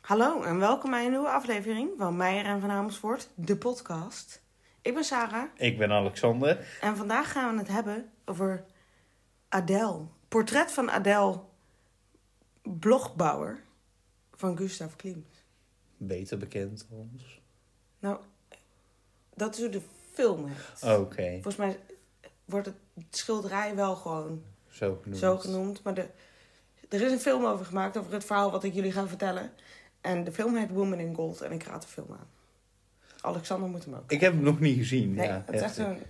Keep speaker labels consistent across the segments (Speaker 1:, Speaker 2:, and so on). Speaker 1: Hallo en welkom bij een nieuwe aflevering van Meijer en van Amersfoort, de podcast. Ik ben Sarah
Speaker 2: Ik ben Alexander.
Speaker 1: en vandaag gaan we het hebben over Adele. Portret van Adele, blogbouwer van Gustav Klimt.
Speaker 2: Beter bekend als.
Speaker 1: Nou, dat is hoe de film heet.
Speaker 2: Oké,
Speaker 1: Volgens mij wordt het schilderij wel gewoon
Speaker 2: zo genoemd.
Speaker 1: zo genoemd. Maar de, er is een film over gemaakt, over het verhaal wat ik jullie ga vertellen. En de film heet Woman in Gold en ik raad de film aan. Alexander moet hem ook.
Speaker 2: Ik heb hem nog niet gezien.
Speaker 1: Nee,
Speaker 2: ja,
Speaker 1: het is echt
Speaker 2: heftig.
Speaker 1: een...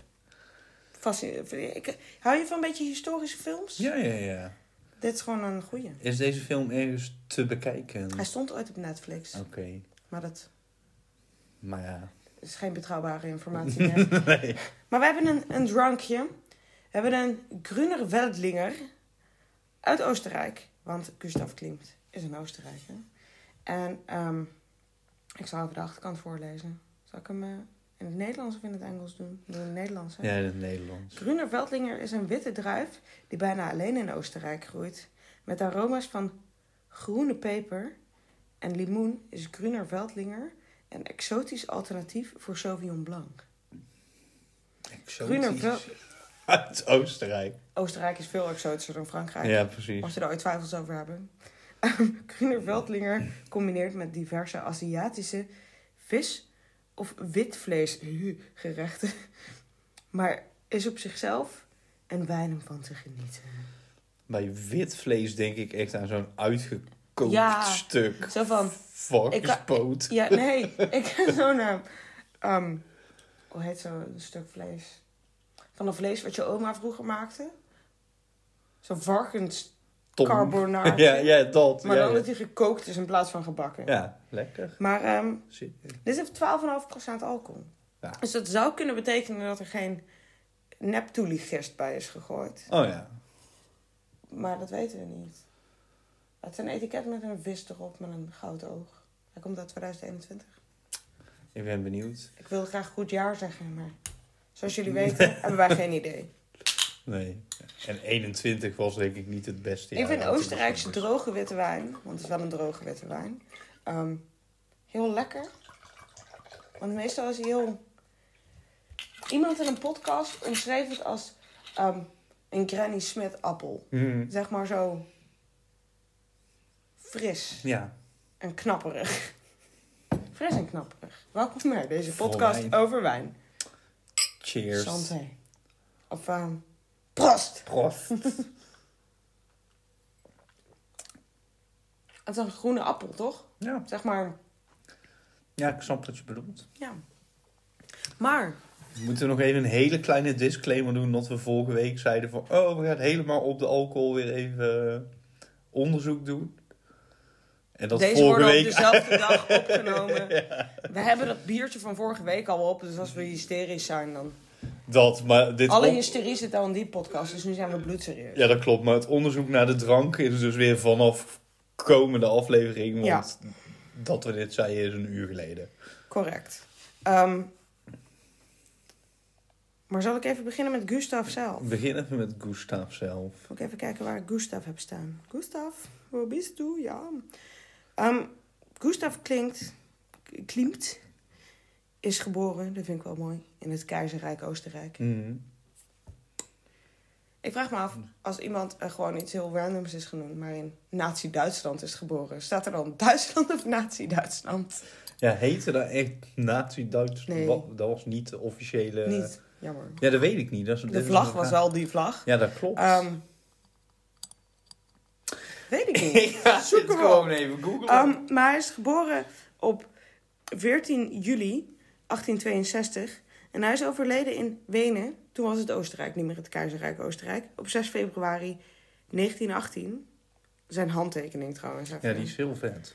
Speaker 1: fascine- Ik, hou je van een beetje historische films?
Speaker 2: Ja, ja, ja.
Speaker 1: Dit is gewoon een goeie.
Speaker 2: Is deze film ergens te bekijken?
Speaker 1: Hij
Speaker 2: Oké,
Speaker 1: stond ooit op Netflix, maar dat
Speaker 2: maar ja.
Speaker 1: is geen betrouwbare informatie meer.
Speaker 2: nee.
Speaker 1: maar we hebben een, een drankje. We hebben een Grüner Veltliner uit Oostenrijk. Want Gustav Klimt is een Oostenrijker. En ehm, ik zal even de achterkant voorlezen. Zal ik hem eh, in het Nederlands of in het Engels doen? Doe in het Nederlands, hè?
Speaker 2: Ja, in het Nederlands.
Speaker 1: Groene Veldlinger is een witte druif die bijna alleen in Oostenrijk groeit. Met aroma's van groene peper en limoen is Gruner Veldlinger een exotisch alternatief voor Sauvignon Blanc. Groener Vel-
Speaker 2: Uit Oostenrijk.
Speaker 1: Oostenrijk is veel exotischer dan Frankrijk.
Speaker 2: Ja, precies.
Speaker 1: Mocht je daar ooit twijfels over hebben. Gruner Veldlinger combineert met diverse Aziatische vis- of witvleesgerechten. Maar is op zichzelf een wijn om van te genieten.
Speaker 2: Bij wit vlees denk ik echt aan zo'n uitgekookt
Speaker 1: Ja,
Speaker 2: stuk.
Speaker 1: zo van,
Speaker 2: Varkenspoot.
Speaker 1: Ja, nee, ik heb zo'n naam. Ehm, hoe heet zo'n stuk vlees? Van een vlees wat je oma vroeger maakte. Zo'n varkens
Speaker 2: Tom.
Speaker 1: carbonara.
Speaker 2: Ja, ja, dat.
Speaker 1: Maar
Speaker 2: ja,
Speaker 1: dan
Speaker 2: ja.
Speaker 1: dat die gekookt is in plaats van gebakken.
Speaker 2: ja, lekker.
Speaker 1: Maar ehm,
Speaker 2: Zie je.
Speaker 1: dit heeft 12,5% alcohol.
Speaker 2: Ja.
Speaker 1: Dus dat zou kunnen betekenen dat er geen neptoeligist bij is gegooid.
Speaker 2: Oh ja.
Speaker 1: Maar dat weten we niet. Het is een etiket met een vis erop met een goud oog. Hij komt uit 2021.
Speaker 2: Ik ben benieuwd.
Speaker 1: Ik wil graag goed jaar zeggen, maar zoals jullie weten hebben wij geen idee.
Speaker 2: Nee. En 21 was denk ik niet het beste.
Speaker 1: ik
Speaker 2: jaar
Speaker 1: vind
Speaker 2: om te
Speaker 1: Oostenrijkse
Speaker 2: beginnen.
Speaker 1: droge witte wijn, want het is wel een droge witte wijn, ehm, heel lekker. Want meestal is hij heel... Iemand in een podcast omschreef het als ehm, een Granny Smith appel.
Speaker 2: Mhm.
Speaker 1: Zeg maar zo fris
Speaker 2: Ja.
Speaker 1: en knapperig. Fris en knapperig. Welkom bij deze podcast
Speaker 2: Vol wijn.
Speaker 1: over wijn.
Speaker 2: Cheers.
Speaker 1: Santé. Of ehm prost!
Speaker 2: Prof.
Speaker 1: Het is een groene appel, toch?
Speaker 2: Ja.
Speaker 1: Zeg maar,
Speaker 2: ja, ik snap wat je bedoelt.
Speaker 1: ja. Maar,
Speaker 2: We moeten nog even een hele kleine disclaimer doen. Dat we vorige week zeiden van... Oh, we gaan helemaal op de alcohol weer even eh, onderzoek doen. En dat
Speaker 1: deze
Speaker 2: vorige
Speaker 1: worden dus
Speaker 2: week...
Speaker 1: op dezelfde dag opgenomen. We hebben dat biertje van vorige week al op, dus als we hysterisch zijn dan...
Speaker 2: Dat, maar dit...
Speaker 1: Alle
Speaker 2: on-
Speaker 1: hysterie zit al in die podcast, dus nu zijn we bloedserieus.
Speaker 2: Ja, dat klopt. Maar het onderzoek naar de drank is dus weer vanaf komende aflevering. Want dat we dit zeiden is een uur geleden.
Speaker 1: Correct. Ehm, maar zal ik even beginnen met Gustav zelf?
Speaker 2: We beginnen even met Gustav zelf.
Speaker 1: Moet ik even kijken waar ik Gustav heb staan. Gustav, waar bist du? Ja. Ehm, Gustav klinkt, Klimt is geboren, dat vind ik wel mooi, in het keizerrijk Oostenrijk.
Speaker 2: Mhm.
Speaker 1: Ik vraag me af, als iemand eh, gewoon iets heel randoms is genoemd, maar in Nazi-Duitsland is geboren, staat er dan Duitsland of Nazi-Duitsland?
Speaker 2: Ja, heette dat echt Nazi-Duits?
Speaker 1: Nee.
Speaker 2: Wa- Dat was niet de officiële...
Speaker 1: Niet, jammer.
Speaker 2: Ja, dat weet ik niet. Dat is, dat
Speaker 1: De
Speaker 2: Eh, is
Speaker 1: vlag
Speaker 2: een
Speaker 1: was
Speaker 2: vraag.
Speaker 1: wel die vlag.
Speaker 2: Ja, dat klopt.
Speaker 1: Ehm, weet ik niet.
Speaker 2: ga
Speaker 1: Zoek
Speaker 2: dit
Speaker 1: hem op.
Speaker 2: even googlen.
Speaker 1: Ehm, maar hij is geboren op 14 juli 1862. En hij is overleden in Wenen. Toen was het Oostenrijk, niet meer het Keizerrijk Oostenrijk. Op 6 februari 1918. Zijn handtekening trouwens. even.
Speaker 2: ja, die is heel vet.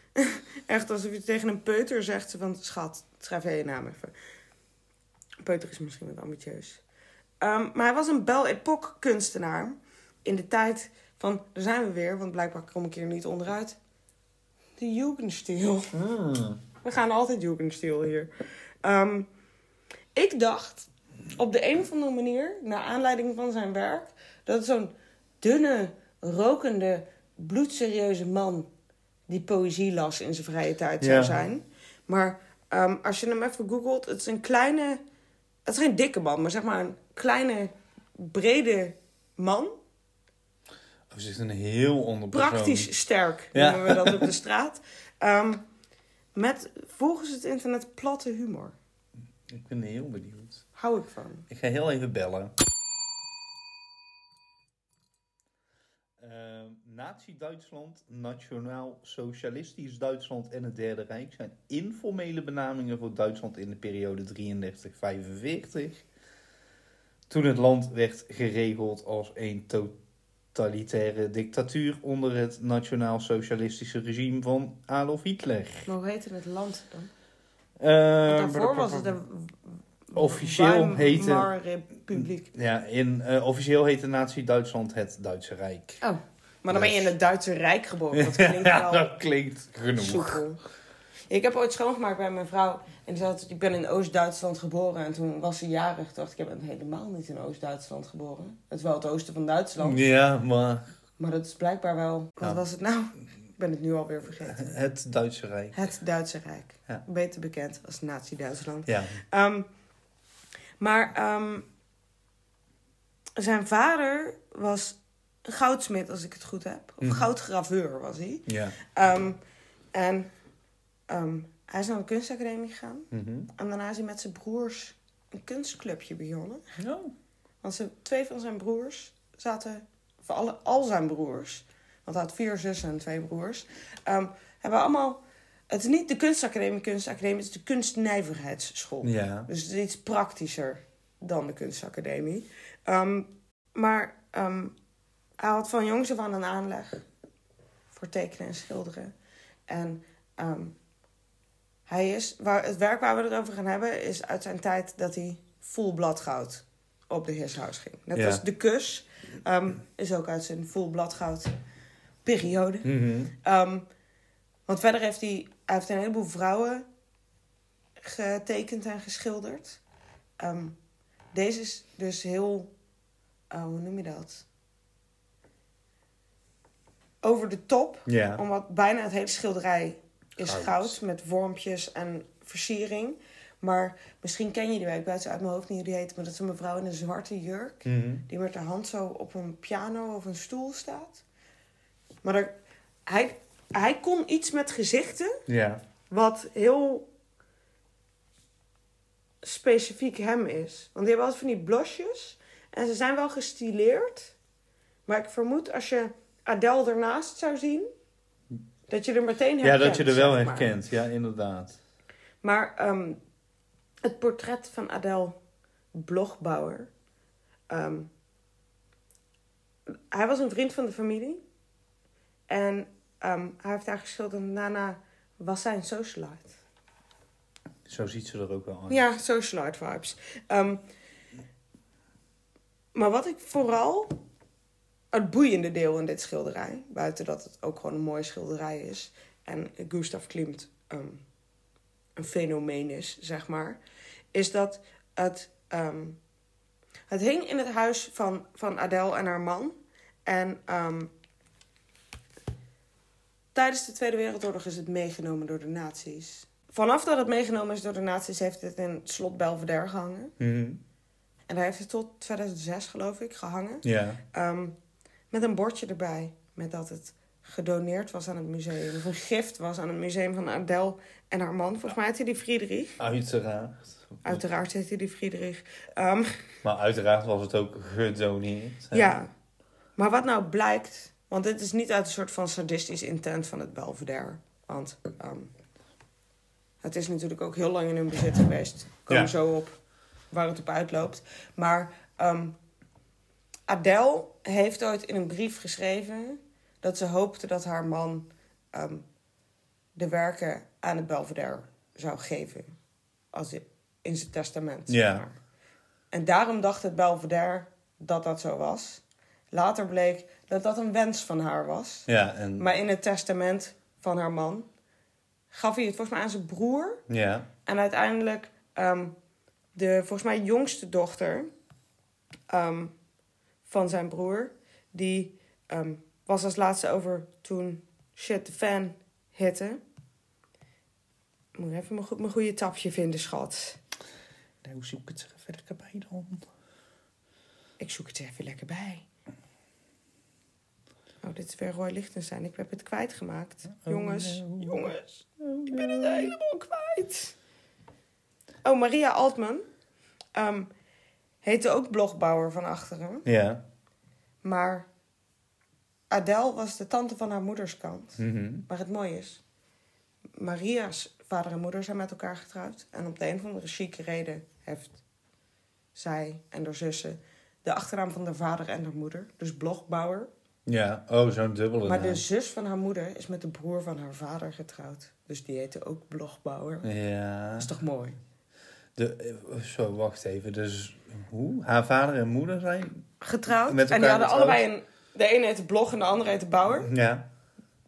Speaker 1: Echt alsof je tegen een peuter zegt van... Schat, schrijf jij je naam even. Peuter is misschien wat ambitieus. Ehm, maar hij was een bel epoch kunstenaar. In de tijd van... Daar zijn we weer, want blijkbaar kom ik hier niet onderuit. De Jugendstil.
Speaker 2: Hmm.
Speaker 1: We gaan altijd Jugendstil hier. Ehm, ik dacht op de een of andere manier, naar aanleiding van zijn werk, dat zo'n dunne, rokende, bloedserieuze man die poëzie las in zijn vrije tijd
Speaker 2: Ja.
Speaker 1: zou zijn. Maar ehm, als je hem even googelt, het is een kleine... Het is geen dikke man, maar zeg maar een kleine, brede man.
Speaker 2: Oh, ze is een heel ander persoon.
Speaker 1: Praktisch sterk,
Speaker 2: Ja.
Speaker 1: noemen we dat op de straat. Ehm, met volgens het internet platte humor.
Speaker 2: Ik ben heel benieuwd.
Speaker 1: Hou ik van.
Speaker 2: Ik ga heel even bellen. Eh, Nazi-Duitsland, Nationaal-Socialistisch Duitsland en het Derde Rijk zijn informele benamingen voor Duitsland in de periode 33-45. Toen het land werd geregeld als een totalitaire dictatuur onder het Nationaal-Socialistische regime van Adolf Hitler.
Speaker 1: Maar hoe heette het land dan?
Speaker 2: Eh,
Speaker 1: Want daarvoor was het een...
Speaker 2: Officieel heette-
Speaker 1: republiek.
Speaker 2: Ja, in, eh, officieel heette Nazi-Duitsland het Duitse Rijk.
Speaker 1: Oh, maar dan ben je in het Duitse Rijk geboren. Dat klinkt
Speaker 2: Hmm. Ja,
Speaker 1: wel...
Speaker 2: dat klinkt genoeg.
Speaker 1: Soepel. Ik heb ooit schoongemaakt bij mijn vrouw. En die zei altijd, ik ben in Oost-Duitsland geboren. En toen was ze jarig. Toen dacht ik, ik ben helemaal niet in Oost-Duitsland geboren. Het is wel het oosten van Duitsland.
Speaker 2: Ja, maar
Speaker 1: Maar dat is blijkbaar wel... Wat
Speaker 2: Ja.
Speaker 1: was het nou? Ik ben het nu alweer vergeten.
Speaker 2: het Duitse Rijk.
Speaker 1: Het Duitse Rijk.
Speaker 2: Ja.
Speaker 1: Beter bekend als Nazi-Duitsland.
Speaker 2: Ja,
Speaker 1: Ehm, maar ehm, zijn vader was goudsmid, als ik het goed heb. Of
Speaker 2: Mhm.
Speaker 1: goudgraveur was hij.
Speaker 2: ja.
Speaker 1: Ehm, en ehm, hij is naar een kunstacademie gegaan.
Speaker 2: Mhm.
Speaker 1: En daarna is hij met zijn broers een kunstclubje begonnen.
Speaker 2: Oh.
Speaker 1: Want ze, twee van zijn broers zaten, voor alle, al zijn broers, want hij had vier zussen en twee broers, ehm, hebben allemaal. Het is niet de kunstacademie, kunstacademie, het is de kunstnijverheidsschool.
Speaker 2: Ja.
Speaker 1: Dus het is iets praktischer dan de kunstacademie. Ehm, maar ehm, hij had van jongs af aan een aanleg voor tekenen en schilderen. En ehm, hij is, waar, het werk waar we het over gaan hebben is uit zijn tijd dat hij full bladgoud op de heershuis ging. Net
Speaker 2: Ja.
Speaker 1: als de kus ehm, is ook uit zijn full bladgoud periode.
Speaker 2: Mhm.
Speaker 1: Ehm, want verder heeft hij, hij heeft een heleboel vrouwen getekend en geschilderd. Ehm, deze is dus heel, eh, hoe noem je dat? Over de top,
Speaker 2: Ja.
Speaker 1: omdat bijna het hele schilderij is
Speaker 2: Goud.
Speaker 1: goud, met vormpjes en versiering. Maar misschien ken je die wel, ik weet ze uit mijn hoofd niet hoe die heet, maar dat is een mevrouw in een zwarte jurk
Speaker 2: Mhm.
Speaker 1: die met haar hand zo op een piano of een stoel staat. Maar er- hij, hij kon iets met gezichten,
Speaker 2: Ja.
Speaker 1: wat heel specifiek hem is. Want die hebben altijd van die blosjes en ze zijn wel gestileerd. Maar ik vermoed als je Adele ernaast zou zien, dat je er meteen
Speaker 2: ja,
Speaker 1: herkent.
Speaker 2: dat je er wel
Speaker 1: zeg maar.
Speaker 2: herkent. Ja, inderdaad.
Speaker 1: Maar ehm, het portret van Adele Blogbouwer. ehm, hij was een vriend van de familie. En ehm, hij heeft haar geschilderd. en Daarna was zij een socialite.
Speaker 2: Zo ziet ze er ook wel uit.
Speaker 1: Ja, socialite vibes. Ehm, maar wat ik vooral het boeiende deel in dit schilderij, buiten dat het ook gewoon een mooie schilderij is en Gustav Klimt ehm, een fenomeen is, zeg maar, is dat het, ehm, het hing in het huis van, van Adele en haar man. En ehm, tijdens de Tweede Wereldoorlog is het meegenomen door de nazi's. Vanaf dat het meegenomen is door de nazi's, heeft het in slot Belvedere gehangen.
Speaker 2: Mhm.
Speaker 1: En daar heeft het tot 2006, geloof ik, gehangen.
Speaker 2: Ja.
Speaker 1: Ehm, met een bordje erbij. Met dat het gedoneerd was aan het museum. Of een gift was aan het museum van Adele en haar man. Volgens mij heette die Friedrich.
Speaker 2: Uiteraard.
Speaker 1: Uiteraard heette die Friedrich. Ehm,
Speaker 2: Maar uiteraard was het ook gedoneerd. hè.
Speaker 1: ja. Maar wat nou blijkt... Want dit is niet uit een soort van sadistisch intent van het Belvedere. Want ehm, het is natuurlijk ook heel lang in hun bezit geweest. Ik kom
Speaker 2: Ja.
Speaker 1: er zo op waar het op uitloopt. Maar ehm, Adele heeft ooit in een brief geschreven... dat ze hoopte dat haar man ehm, de werken aan het Belvedere zou geven. Als i- in zijn testament. zeg
Speaker 2: Ja.
Speaker 1: maar. En daarom dacht het Belvedere dat dat zo was. Later bleek dat dat een wens van haar was.
Speaker 2: Ja, en...
Speaker 1: Maar in het testament van haar man gaf hij het volgens mij aan zijn broer.
Speaker 2: Ja.
Speaker 1: En uiteindelijk ehm, de volgens mij jongste dochter ehm, van zijn broer, die ehm, was als laatste over toen shit the fan Hitte. Moet even mijn, goed, mijn goede tapje vinden, schat.
Speaker 2: Nou, zoek het er even lekker bij dan.
Speaker 1: Ik zoek het er even lekker bij. Oh, dit is weer Roy Lichtenstein. Ik heb het kwijtgemaakt.
Speaker 2: Oh,
Speaker 1: jongens,
Speaker 2: no.
Speaker 1: jongens. Ik ben het helemaal kwijt. Oh, Maria Altman. ehm, heette ook blogbouwer van achteren.
Speaker 2: Ja.
Speaker 1: Maar Adele was de tante van haar moeders kant.
Speaker 2: Mhm.
Speaker 1: Maar het mooie is... Maria's vader en moeder zijn met elkaar getrouwd. En op de een of andere chique reden heeft zij en haar zussen... de achternaam van haar vader en haar moeder. Dus blogbouwer.
Speaker 2: Ja, oh, zo'n dubbele
Speaker 1: Maar dus-
Speaker 2: naam.
Speaker 1: de zus van haar moeder is met de broer van haar vader getrouwd. Dus die heette ook blogbouwer. Dat
Speaker 2: Ja.
Speaker 1: is toch mooi?
Speaker 2: De, eh, zo, wacht even. Dus hoe? Haar vader en moeder zijn?
Speaker 1: Getrouwd.
Speaker 2: Met
Speaker 1: en die
Speaker 2: elkaar
Speaker 1: hadden allebei een... De ene heette blog en de andere heette bouwer.
Speaker 2: Ja.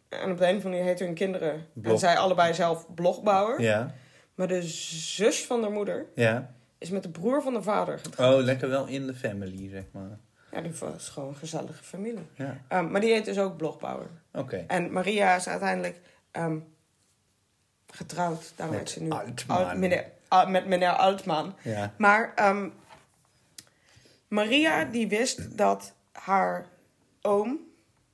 Speaker 1: En op de een of andere manier heette hun kinderen...
Speaker 2: Blog.
Speaker 1: En zij allebei zelf blogbouwer.
Speaker 2: Ja.
Speaker 1: Maar de zus van haar moeder
Speaker 2: Ja.
Speaker 1: is met de broer van haar vader getrouwd.
Speaker 2: Oh, lekker wel in de family, zeg maar.
Speaker 1: Ja, die was gewoon een gezellige familie.
Speaker 2: Ja.
Speaker 1: Ehm, maar die heet dus ook blogbouwer.
Speaker 2: Oké.
Speaker 1: En Maria is uiteindelijk ehm, getrouwd. Daarom
Speaker 2: Met
Speaker 1: heet ze nu...
Speaker 2: Altman.
Speaker 1: Al- meneer- Al- met meneer Altman.
Speaker 2: Ja.
Speaker 1: Maar ehm, Maria die wist dat haar oom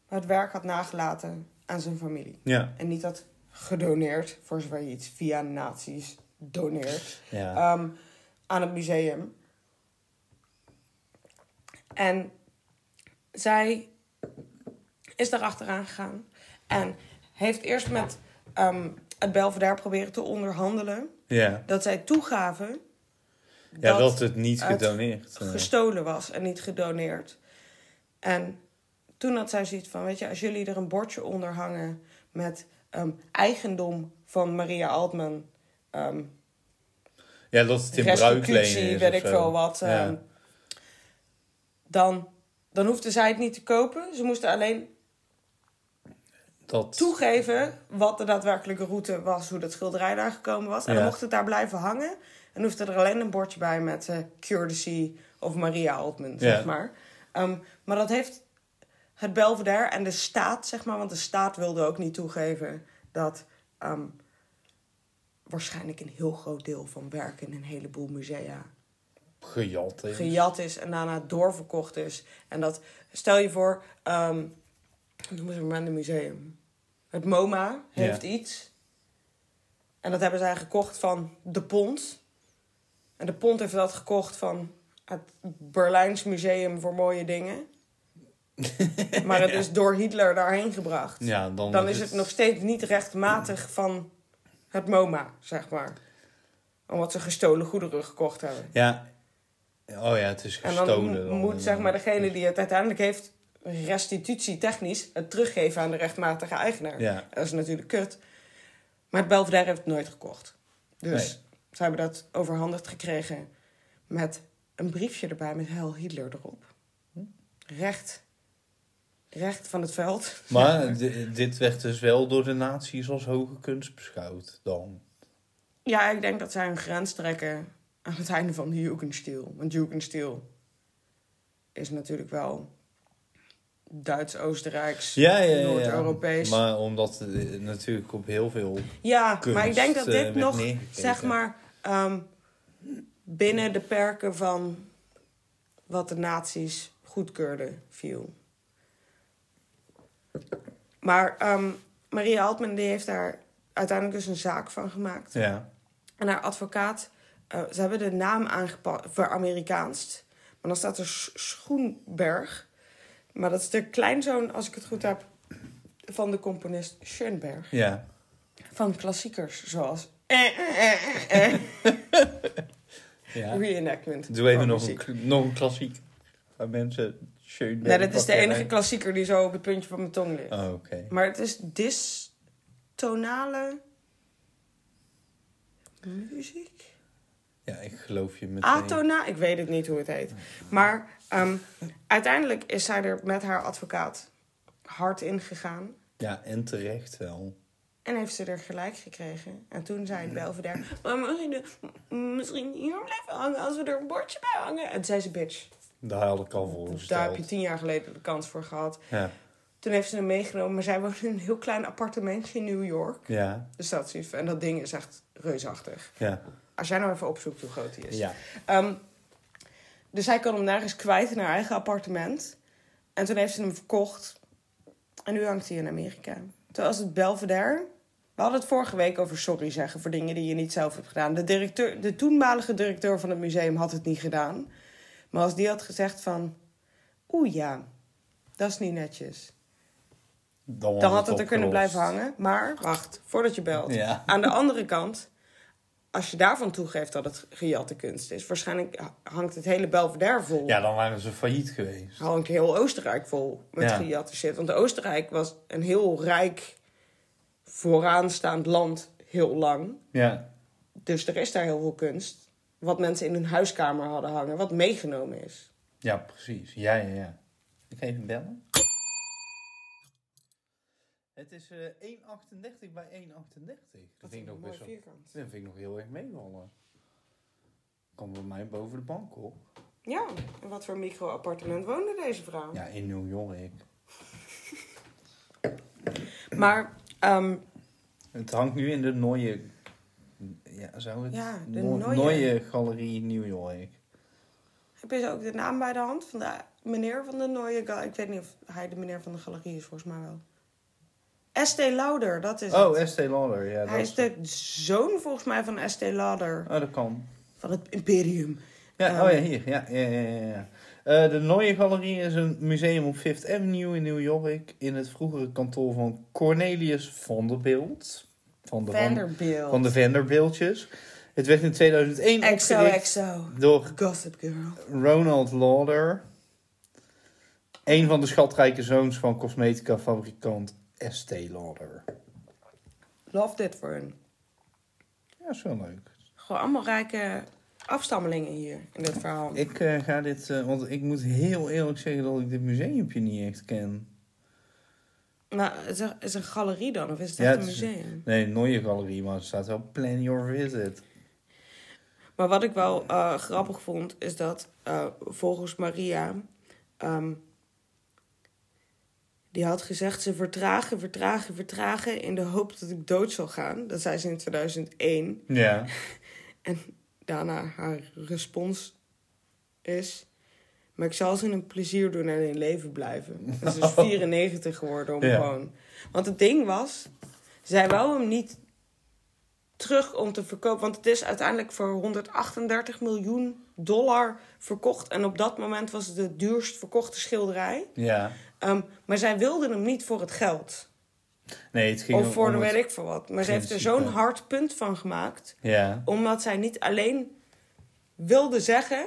Speaker 1: het werk had nagelaten aan zijn familie.
Speaker 2: Ja.
Speaker 1: En niet had gedoneerd, voor zover je iets via nazi's doneert,
Speaker 2: Ja.
Speaker 1: ehm, aan het museum. En zij is daar achteraan gegaan. En heeft eerst met ehm, het Belvedere proberen te onderhandelen.
Speaker 2: ja.
Speaker 1: Dat zij toegaven
Speaker 2: Ja, dat, het niet
Speaker 1: het
Speaker 2: gedoneerd. eh,
Speaker 1: gestolen was en niet gedoneerd. En toen had zij zoiets van, weet je, als jullie er een bordje onder hangen met ehm, eigendom van Maria Altman, ehm
Speaker 2: ja, dat het in bruik lenen
Speaker 1: restitutie,
Speaker 2: is
Speaker 1: weet
Speaker 2: of
Speaker 1: ik
Speaker 2: zo.
Speaker 1: veel wat,
Speaker 2: Ja.
Speaker 1: ehm, dan, dan hoefde zij het niet te kopen. Ze moesten alleen
Speaker 2: dat,
Speaker 1: toegeven wat de daadwerkelijke route was, hoe dat schilderij daar gekomen was. En
Speaker 2: Ja.
Speaker 1: dan mocht het daar blijven hangen. En hoefde er alleen een bordje bij met eh courtesy of Maria Altman, zeg maar. Ehm, maar dat heeft het Belvedere en de staat, zeg maar, want de staat wilde ook niet toegeven dat ehm, waarschijnlijk een heel groot deel van werk in een heleboel musea
Speaker 2: gejat is.
Speaker 1: gejat is en daarna doorverkocht is. En dat, stel je voor, ehm noemen ze maar een museum. Het MoMA
Speaker 2: Ja.
Speaker 1: heeft iets. En dat hebben zij gekocht van de Pont. En de Pont heeft dat gekocht van het Berlijns Museum voor Mooie Dingen. maar het is door Hitler daarheen gebracht.
Speaker 2: Ja, dan,
Speaker 1: Dan is het nog steeds niet rechtmatig van het MoMA, zeg maar. Omdat ze gestolen goederen gekocht hebben.
Speaker 2: Ja. Oh ja, het is
Speaker 1: En
Speaker 2: gestolen.
Speaker 1: dan
Speaker 2: dan,
Speaker 1: moet zeg
Speaker 2: eh,
Speaker 1: maar degene die het uiteindelijk heeft, restitutie technisch, het teruggeven aan de rechtmatige eigenaar.
Speaker 2: Ja.
Speaker 1: Dat is natuurlijk kut. Maar het Belvedere heeft het nooit gekocht. Dus
Speaker 2: Nee.
Speaker 1: ze hebben dat overhandigd gekregen met een briefje erbij met Heil Hitler erop.
Speaker 2: Hm?
Speaker 1: Recht. Recht van het veld.
Speaker 2: Maar di- dit werd dus wel door de nazi's als hoge kunst beschouwd dan.
Speaker 1: Ja, ik denk dat zij een grens trekken aan het einde van de Jugendstil. Want Jugendstil is natuurlijk wel Duits-Oostenrijks,
Speaker 2: Ja, ja, ja.
Speaker 1: Noord-Europees.
Speaker 2: Maar omdat eh, natuurlijk op heel veel...
Speaker 1: Ja, maar ik
Speaker 2: kunst,
Speaker 1: denk dat
Speaker 2: eh,
Speaker 1: dit
Speaker 2: werd
Speaker 1: nog,
Speaker 2: neergekeken.
Speaker 1: zeg maar, ehm, binnen de perken van wat de nazi's goedkeurden viel. Maar ehm, Maria Altman die heeft daar uiteindelijk dus een zaak van gemaakt.
Speaker 2: Ja.
Speaker 1: En haar advocaat, eh, ze hebben de naam aangepast, ver-Amerikaanst. Maar dan staat er Sch- Schoenberg. Maar dat is de kleinzoon, als ik het goed heb, van de componist Schoenberg.
Speaker 2: Ja.
Speaker 1: Van klassiekers zoals... eh, eh, eh, eh,
Speaker 2: ja.
Speaker 1: Reenactment.
Speaker 2: Doe even
Speaker 1: van
Speaker 2: nog een,
Speaker 1: muziek.
Speaker 2: k- nog een klassiek. Waar mensen... Schön
Speaker 1: Nee, Nou, dat is de enige klassieker die zo op het puntje van mijn tong ligt.
Speaker 2: Oh, oké.
Speaker 1: Maar het is distonale... muziek?
Speaker 2: Ja, ik geloof je meteen.
Speaker 1: Atona, ik weet het niet hoe het heet. Maar ehm, uiteindelijk is zij er met haar advocaat hard in gegaan.
Speaker 2: Ja, en terecht wel.
Speaker 1: En heeft ze er gelijk gekregen. En toen zei het Belvedere... Maar misschien, de- misschien hier blijven hangen als we er een bordje bij hangen. En toen zei ze, bitch,
Speaker 2: Daar had ik al voor
Speaker 1: daar heb
Speaker 2: gesteld.
Speaker 1: je tien jaar geleden de kans voor gehad.
Speaker 2: Ja.
Speaker 1: Toen heeft ze hem meegenomen, maar zij woont in een heel klein appartementje in New York.
Speaker 2: Ja,
Speaker 1: Dus dat is lief. En dat ding is echt reusachtig.
Speaker 2: ja,
Speaker 1: Als jij nou even opzoekt hoe groot hij is.
Speaker 2: ja.
Speaker 1: Ehm, dus hij kan hem nergens kwijt in haar eigen appartement. En toen heeft ze hem verkocht. En nu hangt hij in Amerika. Toen was het Belvedere. We hadden het vorige week over sorry zeggen voor dingen die je niet zelf hebt gedaan. De, directeur, de toenmalige directeur van het museum had het niet gedaan. Maar als die had gezegd van... Oeh ja, dat is niet netjes.
Speaker 2: Dan, was
Speaker 1: Dan had het er kunnen
Speaker 2: opgelost.
Speaker 1: blijven hangen. Maar wacht, voordat je belt.
Speaker 2: Ja.
Speaker 1: Aan de andere kant, als je daarvan toegeeft dat het gejatte kunst is, waarschijnlijk hangt het hele Belvedere vol.
Speaker 2: Ja, dan waren ze failliet geweest.
Speaker 1: Hangt heel Oostenrijk vol met
Speaker 2: Ja.
Speaker 1: gejatte shit. Want Oostenrijk was een heel rijk, vooraanstaand land heel lang.
Speaker 2: Ja,
Speaker 1: Dus er is daar heel veel kunst. Wat mensen in hun huiskamer hadden hangen, wat meegenomen is.
Speaker 2: ja precies. Ja, ja, ja. Ik ga even bellen. Het is eh 1,38 bij 1,38. Dat vind ik nog best wel...
Speaker 1: vierkant.
Speaker 2: Dat vind ik nog heel erg meevallen. Komt bij mij boven de bank op.
Speaker 1: Ja, en wat voor micro-appartement woonde deze vrouw?
Speaker 2: Ja, in New York.
Speaker 1: Maar ehm,
Speaker 2: Het hangt nu in de Nooie... Ja, zou het...
Speaker 1: Ja, de
Speaker 2: No-
Speaker 1: Neue-
Speaker 2: Neue Galerie in New York.
Speaker 1: Heb je ook de naam bij de hand van de meneer van de Nooie Gal? Ik weet niet of hij de meneer van de galerie is, volgens mij wel. S.T. Lauder, dat is
Speaker 2: Oh,
Speaker 1: het.
Speaker 2: Estée Lauder. Ja, dat
Speaker 1: Hij is de zoon, volgens mij, van S.T. Lauder.
Speaker 2: Oh, dat kan.
Speaker 1: Van het Imperium.
Speaker 2: Ja,
Speaker 1: Ehm.
Speaker 2: oh ja, hier. Ja, ja, ja, ja, ja. Eh, de Neue Galerie is een museum op Fifth Avenue in New York. In het vroegere kantoor van Cornelius Vanderbilt. Van de, van,
Speaker 1: Vanderbilt.
Speaker 2: van de Vanderbiltjes. Het werd in 2001
Speaker 1: XOXO.
Speaker 2: opgericht door
Speaker 1: Gossip Girl.
Speaker 2: Ronald Lauder. Een van de schatrijke zoons van cosmetica fabrikant Estée Lauder.
Speaker 1: Love that for hun.
Speaker 2: Ja, is wel leuk.
Speaker 1: Gewoon allemaal rijke afstammelingen hier, in dit verhaal.
Speaker 2: Ik eh, ga dit, eh, want ik moet heel eerlijk zeggen dat ik dit museumpje niet echt ken.
Speaker 1: Maar Nou, is er, is er een galerie dan, of is het
Speaker 2: Ja,
Speaker 1: echt een
Speaker 2: het is een-
Speaker 1: museum?
Speaker 2: Nee, Nooie Galerie, maar er staat wel Plan Your Visit.
Speaker 1: Maar wat ik wel eh, grappig vond, is dat eh, volgens Maria. ehm, die had gezegd: ze vertragen, vertragen, vertragen. in de hoop dat ik dood zal gaan. Dat zei ze in 2001.
Speaker 2: Ja.
Speaker 1: En daarna haar respons is. Maar ik zal ze een plezier doen en in leven blijven. Dat is dus 94 geworden om
Speaker 2: Ja.
Speaker 1: gewoon. Want het ding was, zij wou hem niet terug om te verkopen. Want het is uiteindelijk voor 138 miljoen dollar verkocht. En op dat moment was het de duurst verkochte schilderij.
Speaker 2: Ja.
Speaker 1: Ehm, maar zij wilde hem niet voor het geld.
Speaker 2: Nee, het ging
Speaker 1: Of voor
Speaker 2: om
Speaker 1: de
Speaker 2: het-
Speaker 1: weet ik voor wat. Maar ze heeft er
Speaker 2: principe.
Speaker 1: zo'n hard punt van gemaakt
Speaker 2: Ja.
Speaker 1: omdat zij niet alleen wilde zeggen: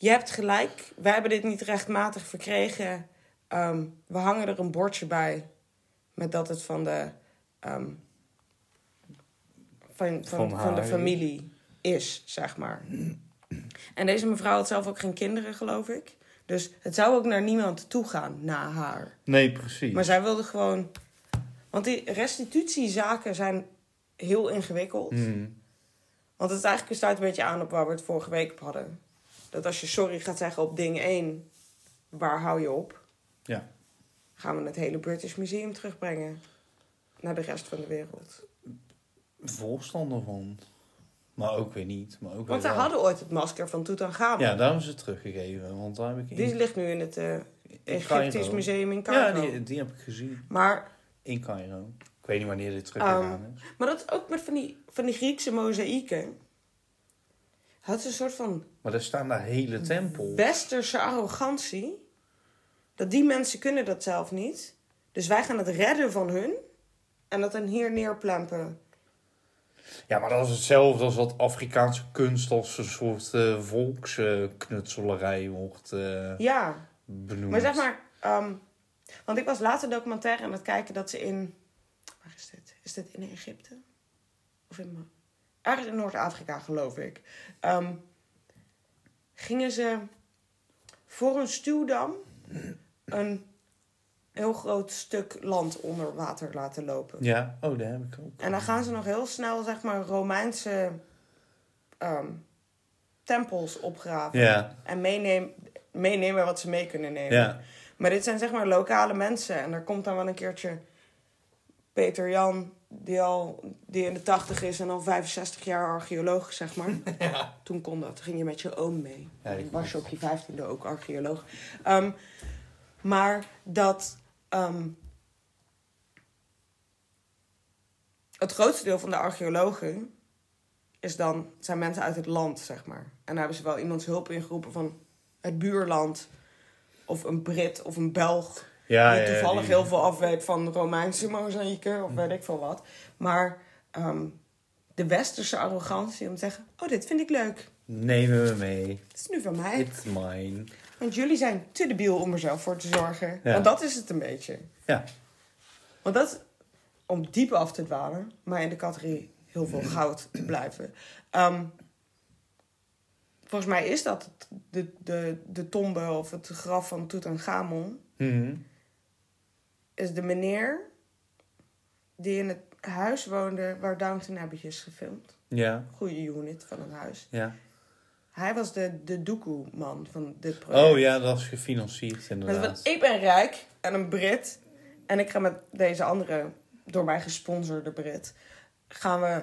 Speaker 1: Je hebt gelijk, wij hebben dit niet rechtmatig verkregen. Ehm, we hangen er een bordje bij met dat het van de, ehm, van, van,
Speaker 2: Van
Speaker 1: van de
Speaker 2: haar.
Speaker 1: familie is, zeg maar. En deze mevrouw had zelf ook geen kinderen, geloof ik. Dus het zou ook naar niemand toe gaan na haar.
Speaker 2: Nee, precies.
Speaker 1: Maar zij wilde gewoon. Want die restitutiezaken zijn heel ingewikkeld.
Speaker 2: Mhm.
Speaker 1: Want het eigenlijk sluit een beetje aan op waar we het vorige week op hadden. Dat als je sorry gaat zeggen op ding 1, waar hou je op?
Speaker 2: Ja.
Speaker 1: Gaan we het hele British Museum terugbrengen naar de rest van de wereld?
Speaker 2: Voorstander van. Maar ook weer niet. Maar ook
Speaker 1: Want we
Speaker 2: weer wel.
Speaker 1: hadden ooit het masker van Tutankhamen.
Speaker 2: Ja, daarom is het teruggegeven. Want daar heb ik... in-
Speaker 1: Die ligt nu in het eh,
Speaker 2: in
Speaker 1: Egyptisch
Speaker 2: Cairo.
Speaker 1: Museum in
Speaker 2: Ja,
Speaker 1: Cairo.
Speaker 2: die, die heb ik gezien.
Speaker 1: Maar ehm,
Speaker 2: In Cairo. Ik weet niet wanneer dit
Speaker 1: Oh.
Speaker 2: teruggegaan is.
Speaker 1: Maar dat is ook met van die, van die Griekse mozaïeken. Had ze een soort van
Speaker 2: Maar er staan daar hele tempels.
Speaker 1: westerse arrogantie. Dat die mensen kunnen dat zelf niet. Dus wij gaan het redden van hun. En dat dan hier neerplempen.
Speaker 2: Ja, maar dat is hetzelfde als wat Afrikaanse kunst als een soort eh volksknutselarij wordt eh,
Speaker 1: Ja,
Speaker 2: benoemd.
Speaker 1: maar zeg maar... ehm, want ik was laatst een documentaire aan het kijken dat ze in... Waar is dit? Is dit in Egypte? Of in... Ma- Ergens in Noord-Afrika, geloof ik. Ehm, gingen ze voor een stuwdam een heel groot stuk land onder water laten lopen.
Speaker 2: Ja, oh, daar heb ik ook.
Speaker 1: En dan gaan ze nog heel snel, zeg maar, Romeinse ehm, tempels opgraven.
Speaker 2: Ja,
Speaker 1: En meenemen, meenemen wat ze mee kunnen nemen.
Speaker 2: ja.
Speaker 1: Maar dit zijn zeg maar lokale mensen. En daar komt dan wel een keertje Peter Jan, die, al, die in de tachtig is en al 65 jaar archeoloog, zeg maar. Toen kon dat. Toen ging je met je oom mee.
Speaker 2: Ja, ik-
Speaker 1: was je op je vijftiende ook archeoloog. Ehm, maar dat... ehm, het grootste deel van de archeologen is dan, zijn mensen uit het land, zeg maar. En daar hebben ze wel iemands hulp ingeroepen van het buurland. Of een Brit of een Belg.
Speaker 2: Ja,
Speaker 1: die
Speaker 2: ja, ja,
Speaker 1: toevallig
Speaker 2: die-
Speaker 1: heel veel af weet van Romeinse mozaïeken of weet ik veel wat. Maar ehm, de westerse arrogantie om te zeggen... Oh, dit vind ik leuk.
Speaker 2: Nemen we mee.
Speaker 1: Het is nu van mij.
Speaker 2: It's mine.
Speaker 1: Want jullie zijn te debiel om er zelf voor te zorgen.
Speaker 2: Ja.
Speaker 1: Want dat is het een beetje.
Speaker 2: Ja.
Speaker 1: Want dat, om diep af te dwalen, maar in de categorie heel veel goud te blijven. Ehm, volgens mij is dat het- de, de, de tombe of het graf van Tutankhamon.
Speaker 2: Mhm.
Speaker 1: Is de meneer die in het huis woonde waar Downton Abbey is gefilmd.
Speaker 2: Ja.
Speaker 1: Goede unit van het huis.
Speaker 2: Ja.
Speaker 1: Hij was de, de doekoe-man van dit project.
Speaker 2: Oh ja, dat is gefinancierd
Speaker 1: Met van,
Speaker 2: inderdaad.
Speaker 1: ik ben rijk en een Brit. En ik ga met deze andere, door mij gesponsorde Brit... gaan we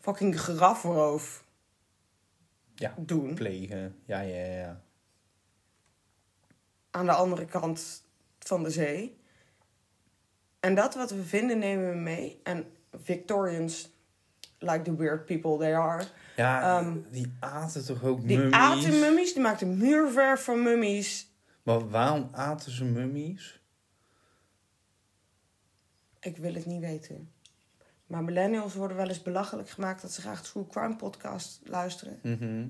Speaker 1: fucking grafroof
Speaker 2: Ja.
Speaker 1: doen.
Speaker 2: Plegen. Ja, ja, ja, ja.
Speaker 1: Aan de andere kant van de zee. En dat wat we vinden nemen we mee. En Victorians, like the weird people they are...
Speaker 2: Ja,
Speaker 1: Ehm,
Speaker 2: die aten toch ook
Speaker 1: die
Speaker 2: mummies?
Speaker 1: aten mummies, die maakten muurverf van mummies.
Speaker 2: Maar waarom aten ze mummies?
Speaker 1: Ik wil het niet weten. Maar millennials worden wel eens belachelijk gemaakt... dat ze graag True Crime podcast luisteren.
Speaker 2: Mhm.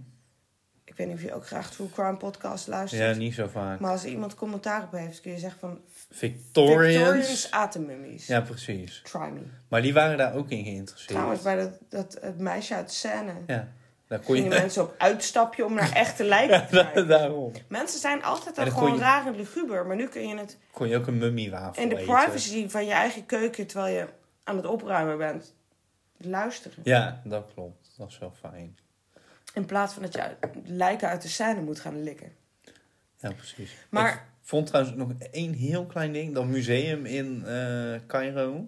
Speaker 1: Ik weet niet of je ook graag True Crime podcast luistert.
Speaker 2: Ja, niet zo vaak.
Speaker 1: Maar als er iemand commentaar op heeft, kun je zeggen van...
Speaker 2: Victorians.
Speaker 1: Victorians atemmummies.
Speaker 2: Ja, precies.
Speaker 1: Try me.
Speaker 2: Maar die waren daar ook in geïnteresseerd.
Speaker 1: Trouwens, bij dat, dat het meisje uit Scène...
Speaker 2: Ja, daar kon
Speaker 1: gingen
Speaker 2: je...
Speaker 1: mensen op uitstapje om naar echte lijken te kijken.
Speaker 2: Daarom.
Speaker 1: Mensen zijn altijd al
Speaker 2: En dan
Speaker 1: gewoon
Speaker 2: kon je-
Speaker 1: raar en luguber. Maar nu kun je het
Speaker 2: Kon je ook een mummiewafel
Speaker 1: in de
Speaker 2: eten.
Speaker 1: privacy van je eigen keuken... terwijl je aan het opruimen bent, luisteren.
Speaker 2: Ja, dat klopt. Dat is wel fijn.
Speaker 1: In plaats van dat je uit- lijken uit de scène moet gaan likken.
Speaker 2: Ja, precies.
Speaker 1: Maar-
Speaker 2: Ik vond trouwens nog één heel klein ding. Dat museum in eh, Cairo.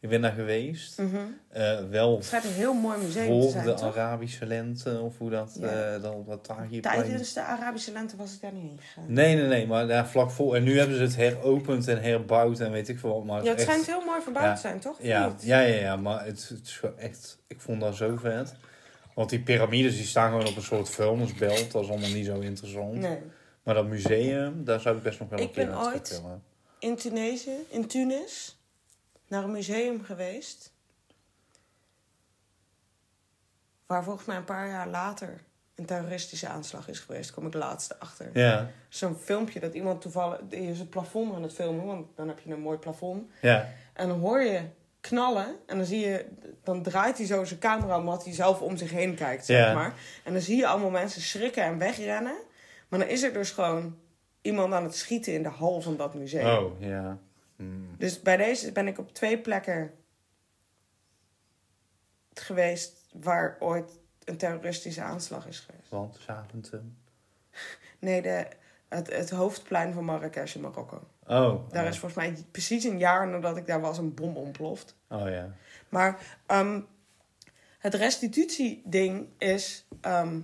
Speaker 2: Ik ben daar geweest. Eh, wel
Speaker 1: Het schijnt een heel mooi museum Mhm. te
Speaker 2: voor de
Speaker 1: zijn, toch?
Speaker 2: Arabische lente. Of hoe dat...
Speaker 1: Ja.
Speaker 2: eh, dan, dat Tahrirplein.
Speaker 1: Tijdens de Arabische lente was ik daar niet heen gegaan.
Speaker 2: Nee, nee, nee. Maar daar vlak voor. En nu hebben ze het heropend en herbouwd en weet ik veel wat. Maar
Speaker 1: Ja, het
Speaker 2: echt-
Speaker 1: schijnt heel mooi verbouwd
Speaker 2: Ja.
Speaker 1: te zijn, toch?
Speaker 2: Ja,
Speaker 1: Niet?
Speaker 2: ja, ja, ja, maar het, het is gewoon echt, ik vond dat zo vet. Want die piramides die staan gewoon op een soort vuilnisbelt. Dat is allemaal niet zo interessant.
Speaker 1: Nee.
Speaker 2: Maar dat museum, daar zou ik best nog wel
Speaker 1: Ik
Speaker 2: een keer
Speaker 1: ben
Speaker 2: naar terug
Speaker 1: ooit-
Speaker 2: willen.
Speaker 1: In Tunesië, in Tunis, naar een museum geweest. Waar volgens mij een paar jaar later een terroristische aanslag is geweest. Kom ik laatst achter.
Speaker 2: Ja,
Speaker 1: Zo'n filmpje dat iemand toevallig... Die is een plafond aan het filmen, want dan heb je een mooi plafond.
Speaker 2: ja,
Speaker 1: En dan hoor je knallen. En dan zie je... Dan draait hij zo zijn camera omdat hij zelf om zich heen kijkt, zeg
Speaker 2: Ja.
Speaker 1: maar. En dan zie je allemaal mensen schrikken en wegrennen. Maar dan is er dus gewoon iemand aan het schieten in de hal van dat museum.
Speaker 2: oh, ja. Hmm.
Speaker 1: Dus bij deze ben ik op twee plekken geweest waar ooit een terroristische aanslag is geweest.
Speaker 2: Want Zaventem.
Speaker 1: Nee, de, het, het hoofdplein van Marrakesh in Marokko.
Speaker 2: Oh,
Speaker 1: Daar
Speaker 2: oh.
Speaker 1: is volgens mij precies een jaar nadat ik daar was een bom ontploft.
Speaker 2: Oh ja.
Speaker 1: Maar ehm, het restitutieding is. ehm,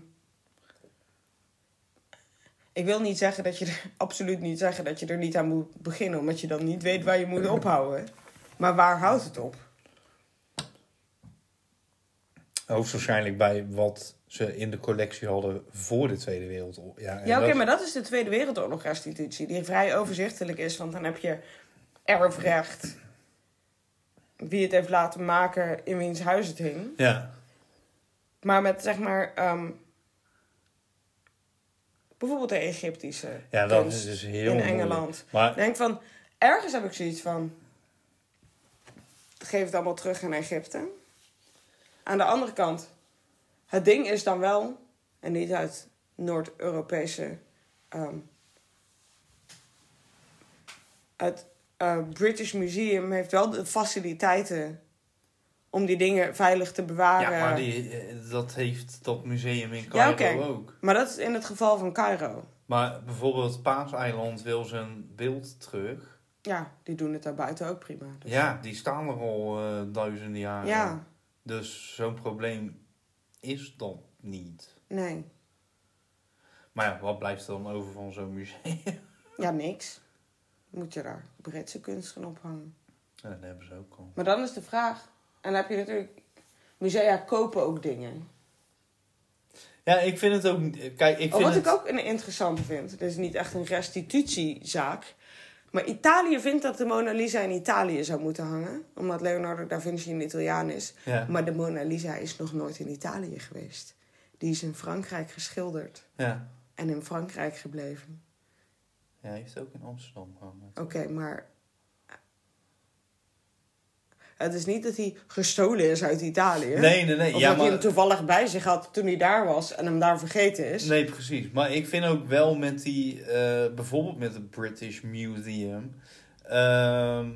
Speaker 1: ik wil niet zeggen dat je er, absoluut niet zeggen dat je er niet aan moet beginnen, omdat je dan niet weet waar je moet ophouden. Maar waar houdt het op?
Speaker 2: Hoogstwaarschijnlijk bij wat ze in de collectie hadden voor de Tweede Wereldoorlog. Ja, en
Speaker 1: Ja, oké,
Speaker 2: dat-
Speaker 1: maar dat is de Tweede Wereldoorlog restitutie, die vrij overzichtelijk is, want dan heb je erfrecht, wie het heeft laten maken, in wiens huis het hing.
Speaker 2: Ja,
Speaker 1: Maar met zeg maar. ehm, bijvoorbeeld de Egyptische.
Speaker 2: ja dat
Speaker 1: kunst
Speaker 2: is dus heel
Speaker 1: In
Speaker 2: moeilijk.
Speaker 1: Engeland. Ik
Speaker 2: Maar
Speaker 1: denk van. Ergens heb ik zoiets van. Geef het allemaal terug aan Egypte. Aan de andere kant. Het ding is dan wel. En niet uit Noord-Europese. ehm, het eh, British Museum heeft wel de faciliteiten. om die dingen veilig te
Speaker 2: ja,
Speaker 1: bewaren.
Speaker 2: maar die, eh, dat heeft dat museum in
Speaker 1: Ja,
Speaker 2: Cairo
Speaker 1: oké.
Speaker 2: ook.
Speaker 1: Maar dat is in het geval van Cairo.
Speaker 2: Maar bijvoorbeeld Paaseiland wil zijn beeld terug.
Speaker 1: Ja, die doen het daarbuiten ook prima. Dus-
Speaker 2: Ja, die staan er al eh, duizenden jaren.
Speaker 1: Ja,
Speaker 2: Dus zo'n probleem is dat niet.
Speaker 1: nee.
Speaker 2: Maar ja, wat blijft er dan over van zo'n museum?
Speaker 1: Ja, niks. Moet je daar Britse kunst gaan ophangen.
Speaker 2: Ja, dat hebben ze ook al.
Speaker 1: Maar dan is de vraag. En dan heb je natuurlijk. Musea kopen ook dingen.
Speaker 2: Ja, ik vind het ook... Kijk, ik
Speaker 1: Oh,
Speaker 2: vind
Speaker 1: wat
Speaker 2: het...
Speaker 1: ik ook een interessante vind. Dit is niet echt een restitutiezaak. Maar Italië vindt dat de Mona Lisa in Italië zou moeten hangen. Omdat Leonardo da Vinci een Italiaan is.
Speaker 2: Ja,
Speaker 1: Maar de Mona Lisa is nog nooit in Italië geweest. Die is in Frankrijk geschilderd.
Speaker 2: ja.
Speaker 1: En in Frankrijk gebleven.
Speaker 2: ja, hij heeft ook in Amsterdam eh. gehangen.
Speaker 1: Oké, maar. Het is niet dat hij gestolen is uit Italië.
Speaker 2: Nee, nee, nee.
Speaker 1: Of
Speaker 2: ja,
Speaker 1: dat hij hem
Speaker 2: maar...
Speaker 1: toevallig bij zich had toen hij daar was en hem daar vergeten is.
Speaker 2: Nee, precies. Maar ik vind ook wel met die... eh, bijvoorbeeld met het British Museum... ehm,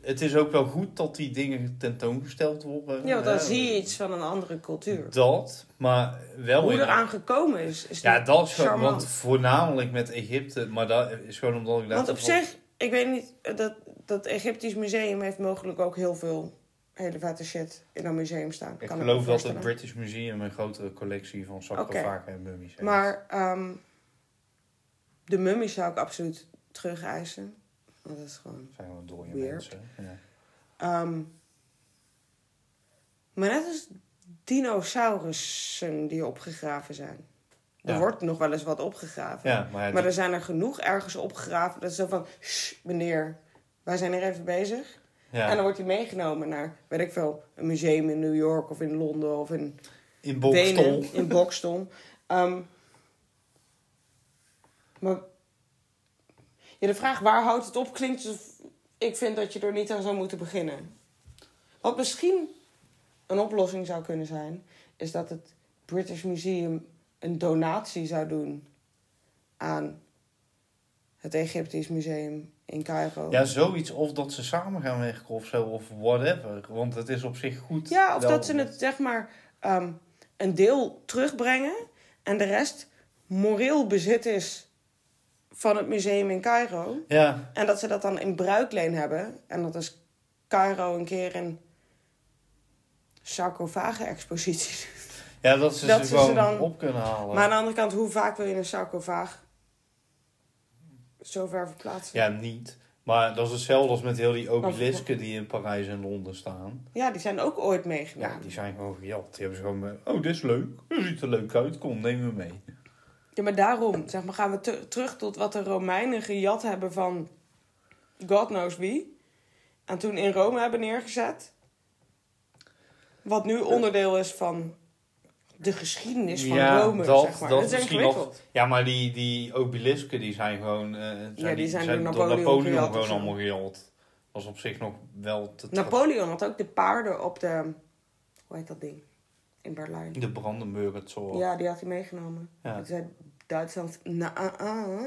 Speaker 2: het is ook wel goed dat die dingen tentoongesteld worden.
Speaker 1: Ja, want dan
Speaker 2: hè.
Speaker 1: zie je iets van een andere cultuur.
Speaker 2: Dat, maar wel
Speaker 1: Hoe
Speaker 2: in-
Speaker 1: eraan gekomen is. is
Speaker 2: Ja,
Speaker 1: niet
Speaker 2: dat is gewoon,
Speaker 1: charmant.
Speaker 2: want voornamelijk met Egypte, maar dat is gewoon omdat ik daar...
Speaker 1: Want op
Speaker 2: toevallig-
Speaker 1: zich, ik weet niet, eh, dat, dat Egyptisch museum heeft mogelijk ook heel veel hele vette shit in dat museum staan.
Speaker 2: Ik
Speaker 1: Kan me
Speaker 2: geloof dat het
Speaker 1: voorstellen.
Speaker 2: British Museum een grotere collectie van sarcofagen en mummies heeft.
Speaker 1: Maar ehm, de mummies zou ik absoluut terug eisen. Want dat is gewoon
Speaker 2: Dat zijn gewoon dode
Speaker 1: Weird.
Speaker 2: mensen. Ja.
Speaker 1: Ehm, maar net als dinosaurussen die opgegraven zijn. Er
Speaker 2: Ja.
Speaker 1: wordt nog wel eens wat opgegraven.
Speaker 2: ja, maar, ja,
Speaker 1: Maar
Speaker 2: die-
Speaker 1: er zijn er genoeg ergens opgegraven. Dat is zo van, "Shh, meneer, wij zijn er even bezig.
Speaker 2: ja.
Speaker 1: En dan wordt hij meegenomen naar, weet ik veel, een museum in New York of in Londen of in
Speaker 2: in
Speaker 1: Wenen,
Speaker 2: Bokstel.
Speaker 1: in Bokston. Ehm, maar ja, de vraag waar houdt het op klinkt... alsof ik vind dat je er niet aan zou moeten beginnen. Wat misschien een oplossing zou kunnen zijn... is dat het British Museum een donatie zou doen... aan het Egyptisch Museum in Cairo.
Speaker 2: Ja, zoiets. Of dat ze samen gaan werken of zo, of whatever. Want het is op zich goed.
Speaker 1: Ja, of
Speaker 2: wel-
Speaker 1: dat ze het zeg maar ehm, een deel terugbrengen en de rest moreel bezit is van het museum in Cairo.
Speaker 2: Ja,
Speaker 1: En dat ze dat dan in bruikleen hebben. En dat is Cairo een keer een sarcofage expositie.
Speaker 2: ja, dat ze
Speaker 1: Dat
Speaker 2: ze
Speaker 1: ze
Speaker 2: gewoon
Speaker 1: ze dan-
Speaker 2: op kunnen halen.
Speaker 1: Maar aan de andere kant, hoe vaak wil je een sarcofaag zo ver verplaatsen?
Speaker 2: Ja, niet. Maar dat is hetzelfde als met heel die obelisken die in Parijs en Londen staan.
Speaker 1: Ja, die zijn ook ooit
Speaker 2: Ja,
Speaker 1: meegenomen.
Speaker 2: die zijn gewoon gejat. Die hebben ze gewoon... eh, Oh, dit is leuk. Dat ziet er leuk uit. Kom, neem me mee.
Speaker 1: Ja, maar daarom zeg maar, gaan we te- terug tot wat de Romeinen gejat hebben van God knows wie. En toen in Rome hebben neergezet. Wat nu onderdeel is van de geschiedenis van
Speaker 2: Ja,
Speaker 1: Rome,
Speaker 2: dat-
Speaker 1: zeg maar.
Speaker 2: dat
Speaker 1: Dat, is
Speaker 2: misschien nog-
Speaker 1: ingewikkeld.
Speaker 2: Ja, maar die, die obelisken die zijn gewoon... eh, zijn
Speaker 1: die zijn door
Speaker 2: door
Speaker 1: Napoleon
Speaker 2: Napoleon
Speaker 1: gejat of
Speaker 2: gewoon
Speaker 1: zo.
Speaker 2: allemaal gejat. Dat is op zich nog wel te tra-
Speaker 1: Napoleon had ook de paarden op de... Hoe heet dat ding? In Berlijn.
Speaker 2: De Brandenburger Tor.
Speaker 1: Ja, die had hij meegenomen.
Speaker 2: Ja.
Speaker 1: Toen zei Duitsland, na ah, ah.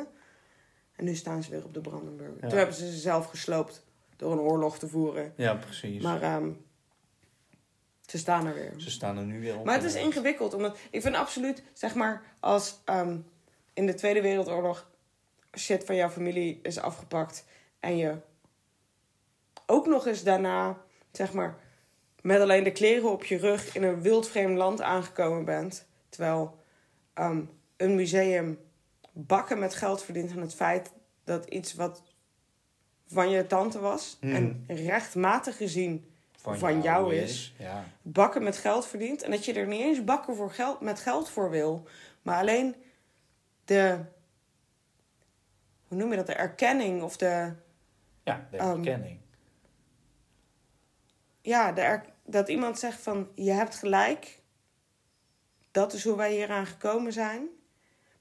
Speaker 1: En nu staan ze weer op de Brandenburg.
Speaker 2: Ja.
Speaker 1: Toen hebben ze ze zelf gesloopt door een oorlog te voeren.
Speaker 2: Ja, precies.
Speaker 1: Maar ehm, ze staan er weer.
Speaker 2: Ze staan er nu weer op. eh,
Speaker 1: Maar het is ingewikkeld. Omdat ik vind absoluut, zeg maar, als ehm, in de Tweede Wereldoorlog shit van jouw familie is afgepakt. En je ook nog eens daarna, zeg maar, met alleen de kleren op je rug in een wildvreemd land aangekomen bent. Terwijl ehm, een museum bakken met geld verdient aan het feit dat iets wat van je tante was.
Speaker 2: Mhm.
Speaker 1: En rechtmatig gezien Hmm. van jou is.
Speaker 2: Ja.
Speaker 1: bakken met geld verdient. En dat je er niet eens bakken voor geld, met geld voor wil. Maar alleen de. Hoe noem je dat? De erkenning of de.
Speaker 2: Ja, de
Speaker 1: Ehm,
Speaker 2: herkenning.
Speaker 1: Ja, de er- dat iemand zegt van je hebt gelijk. Dat is hoe wij hieraan gekomen zijn.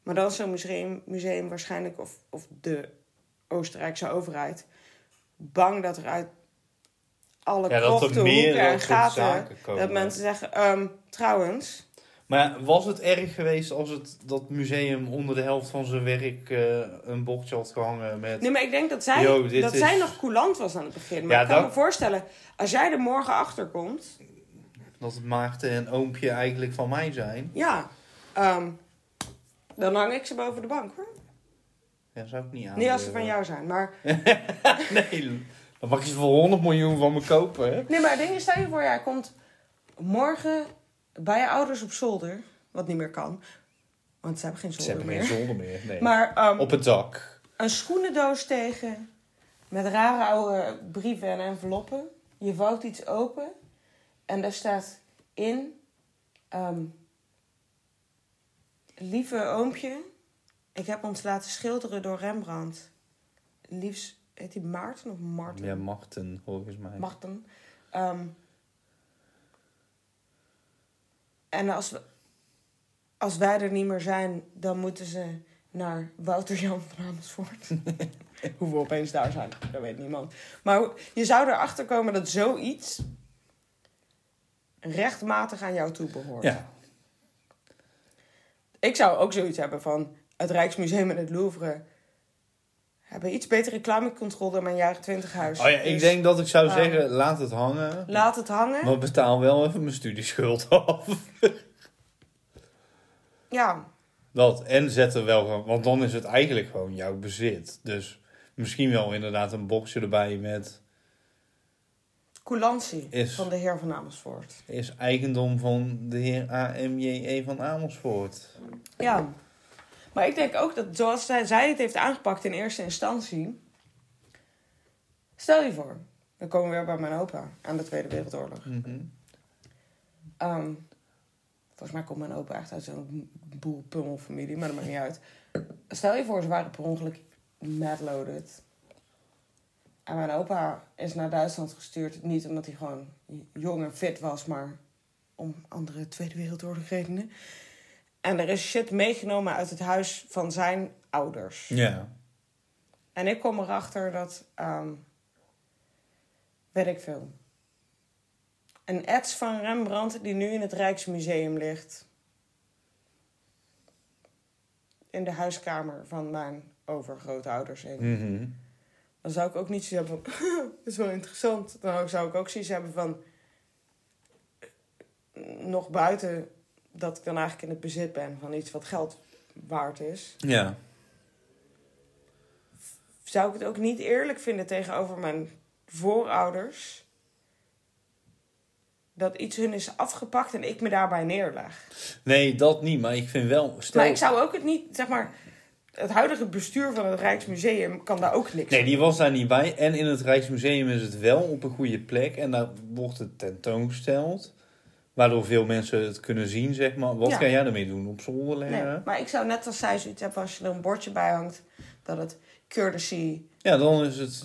Speaker 1: Maar dan is zo'n museum, museum waarschijnlijk, of, of de Oostenrijkse overheid, bang dat er uit alle
Speaker 2: ja, dat er
Speaker 1: krochten,
Speaker 2: meer
Speaker 1: hoeken
Speaker 2: dat
Speaker 1: en
Speaker 2: soort
Speaker 1: gaten...
Speaker 2: zaken komen.
Speaker 1: Dat mensen zeggen, ehm, trouwens,
Speaker 2: Maar was het erg geweest als het, dat museum onder de helft van zijn werk eh, een bordje had gehangen met...
Speaker 1: Nee, maar ik denk dat zij,
Speaker 2: Yo, dit
Speaker 1: dat
Speaker 2: is-
Speaker 1: zij nog coulant was aan het begin. Maar
Speaker 2: Ja,
Speaker 1: ik kan
Speaker 2: dat-
Speaker 1: me voorstellen, als jij er morgen achter komt...
Speaker 2: Dat Maarten en oompje eigenlijk van mij zijn.
Speaker 1: Ja, ehm, Dan hang ik ze boven de bank hoor.
Speaker 2: Ja, zou ik niet aan.
Speaker 1: Niet als ze van jou zijn, maar...
Speaker 2: nee, dan mag je ze voor 100 miljoen van me kopen, hè?
Speaker 1: Nee, maar dingen stel je voor, jij komt morgen bij je ouders op zolder. Wat niet meer kan. Want ze hebben geen
Speaker 2: Ze
Speaker 1: zolder
Speaker 2: hebben
Speaker 1: meer.
Speaker 2: geen zolder meer. Nee.
Speaker 1: Maar ehm,
Speaker 2: Op het dak.
Speaker 1: een schoenendoos tegen. Met rare oude brieven en enveloppen. Je vouwt iets open. En daar staat in... ehm, Lieve oompje, ik heb ons laten schilderen door Rembrandt. Liefst, heet hij Maarten of Martin?
Speaker 2: Ja, Marten, volgens mij.
Speaker 1: Marten. Ehm, en als, we, als wij er niet meer zijn, dan moeten ze naar Wouter Jan van Amersfoort. Hoe we opeens daar zijn, dat weet niemand. Maar hoe- je zou erachter komen dat zoiets rechtmatig aan jou toe behoort.
Speaker 2: Ja.
Speaker 1: Ik zou ook zoiets hebben van het Rijksmuseum en het Louvre hebben iets betere reclamecontrole dan mijn jaren 20 huis.
Speaker 2: Oh ja, ik
Speaker 1: Dus
Speaker 2: denk dat ik zou
Speaker 1: ehm,
Speaker 2: zeggen, laat het hangen.
Speaker 1: Laat het hangen.
Speaker 2: Maar betaal wel even mijn studieschuld af.
Speaker 1: Ja,
Speaker 2: Dat, en zet er wel gewoon, want dan is het eigenlijk gewoon jouw bezit. Dus misschien wel inderdaad een boxje erbij met,
Speaker 1: coulantie
Speaker 2: Is.
Speaker 1: van de heer van Amersfoort.
Speaker 2: is eigendom van de heer AMJE E van Amersfoort.
Speaker 1: Ja. Maar ik denk ook dat zoals zij, zij het heeft aangepakt in eerste instantie... Stel je voor, we komen weer bij mijn opa aan de Tweede Wereldoorlog.
Speaker 2: Mhm.
Speaker 1: Ehm, volgens mij komt mijn opa echt uit zo'n boel pummelfamilie, maar dat maakt niet uit. Stel je voor, ze waren per ongeluk mad loaded. En mijn opa is naar Duitsland gestuurd, niet omdat hij gewoon jong en fit was, maar om andere Tweede Wereldoorlog redenen. En er is shit meegenomen uit het huis van zijn ouders.
Speaker 2: Ja.
Speaker 1: En ik kom erachter dat, ehm weet ik veel, een ets van Rembrandt die nu in het Rijksmuseum ligt. In de huiskamer van mijn overgrootouders. In.
Speaker 2: Mhm.
Speaker 1: Dan zou ik ook niet zoiets hebben van, dat is wel interessant. Dan zou ik ook zoiets hebben van, eh, nog buiten dat ik dan eigenlijk in het bezit ben van iets wat geld waard is
Speaker 2: Ja.
Speaker 1: zou ik het ook niet eerlijk vinden tegenover mijn voorouders. Dat iets hun is afgepakt en ik me daarbij neerleg.
Speaker 2: Nee, dat niet, maar ik vind wel... Stel...
Speaker 1: Maar ik zou ook het niet, zeg maar, het huidige bestuur van het Rijksmuseum kan daar ook niks
Speaker 2: Nee,
Speaker 1: aan
Speaker 2: die was daar niet bij. En in het Rijksmuseum is het wel op een goede plek. En daar wordt het tentoongesteld. Waardoor veel mensen het kunnen zien, zeg maar. Wat
Speaker 1: Ja.
Speaker 2: ga jij ermee doen? Op zolder leggen?
Speaker 1: Nee, maar ik zou net als zij zoiets hebben als je er een bordje bij hangt dat het courtesy
Speaker 2: Ja, dan is het...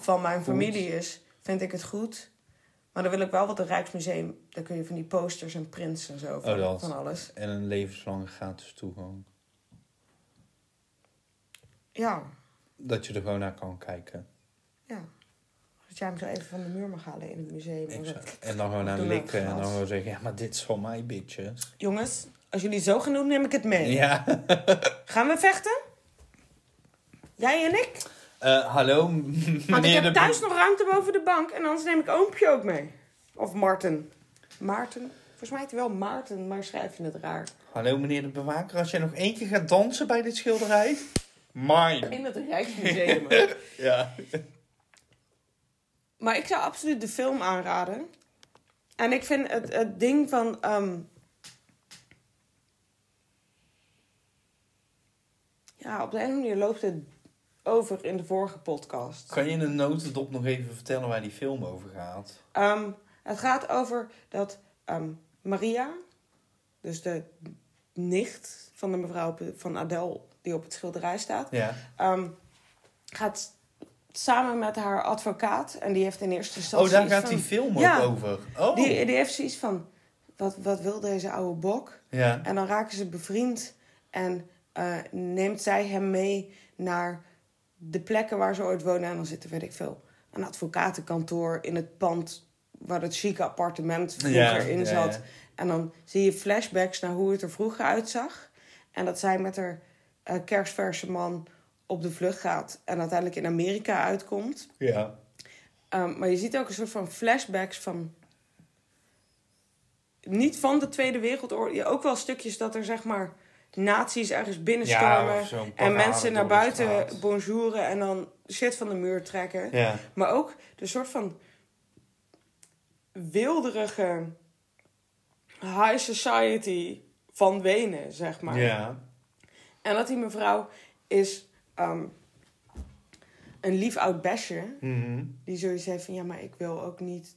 Speaker 1: van mijn familie is, vind ik het goed. Maar dan wil ik wel wat het Rijksmuseum, daar kun je van die posters en prints en zo van,
Speaker 2: Oh, dat.
Speaker 1: van alles.
Speaker 2: En een levenslange gratis toegang.
Speaker 1: Ja,
Speaker 2: Dat je er gewoon naar kan kijken.
Speaker 1: ja. Dat jij hem zo even van de muur mag halen in het museum.
Speaker 2: Ik
Speaker 1: en
Speaker 2: zou-
Speaker 1: dat-
Speaker 2: En dan gewoon aan
Speaker 1: Doe
Speaker 2: likken.
Speaker 1: dat,
Speaker 2: En dan
Speaker 1: gast.
Speaker 2: gewoon zeggen, ja, maar dit is van mij, bitches.
Speaker 1: Jongens, als jullie zo gaan doen, neem ik het mee.
Speaker 2: Ja.
Speaker 1: Gaan we vechten? Jij en ik?
Speaker 2: Eh, hallo,
Speaker 1: Want ik
Speaker 2: meneer de...
Speaker 1: heb thuis nog ruimte boven de bank. En anders neem ik oompje ook mee. Of Marten. Maarten? Volgens mij heet hij wel Maarten, maar schrijf je het raar.
Speaker 2: Hallo, meneer de bewaker. Als jij nog één keer gaat dansen bij dit schilderij... Mine.
Speaker 1: In het Rijksmuseum.
Speaker 2: Ja.
Speaker 1: maar ik zou absoluut de film aanraden. En ik vind het, het ding van... ehm, Ja, op de een of andere manier loopt het over in de vorige podcast.
Speaker 2: Kan je in een notendop nog even vertellen waar die film over gaat?
Speaker 1: Ehm, het gaat over dat ehm, Maria, dus de nicht van de mevrouw op- van Adele die op het schilderij staat,
Speaker 2: Ja.
Speaker 1: ehm, gaat s- samen met haar advocaat en die heeft in eerste instantie.
Speaker 2: Oh, daar
Speaker 1: iets
Speaker 2: gaat
Speaker 1: van-
Speaker 2: die film ook
Speaker 1: Ja.
Speaker 2: over. Oh.
Speaker 1: Die, die heeft zoiets van: wat, wat wil deze oude bok?
Speaker 2: Ja.
Speaker 1: En dan raken ze bevriend en eh, neemt zij hem mee naar de plekken waar ze ooit wonen. En dan zitten, weet ik veel, een advocatenkantoor in het pand waar dat chique appartement vroeger
Speaker 2: Ja, ja,
Speaker 1: in zat.
Speaker 2: ja.
Speaker 1: En dan zie je flashbacks naar hoe het er vroeger uitzag. En dat zij met haar eh, kerstverse man op de vlucht gaat en uiteindelijk in Amerika uitkomt.
Speaker 2: Ja.
Speaker 1: Ehm, maar je ziet ook een soort van flashbacks van. Niet van de Tweede Wereldoorlog. ja, Ook wel stukjes dat er zeg maar nazi's ergens
Speaker 2: Ja,
Speaker 1: binnenstormen.
Speaker 2: of zo'n
Speaker 1: en
Speaker 2: parade door
Speaker 1: mensen naar
Speaker 2: de
Speaker 1: buiten
Speaker 2: straat.
Speaker 1: bonjouren en dan shit van de muur trekken.
Speaker 2: Ja.
Speaker 1: Maar ook de soort van wilderige high society van Wenen, zeg maar.
Speaker 2: ja.
Speaker 1: En dat die mevrouw is ehm, een lief oud besje.
Speaker 2: Mhm.
Speaker 1: Die zoiets heeft van, ja, maar ik wil ook niet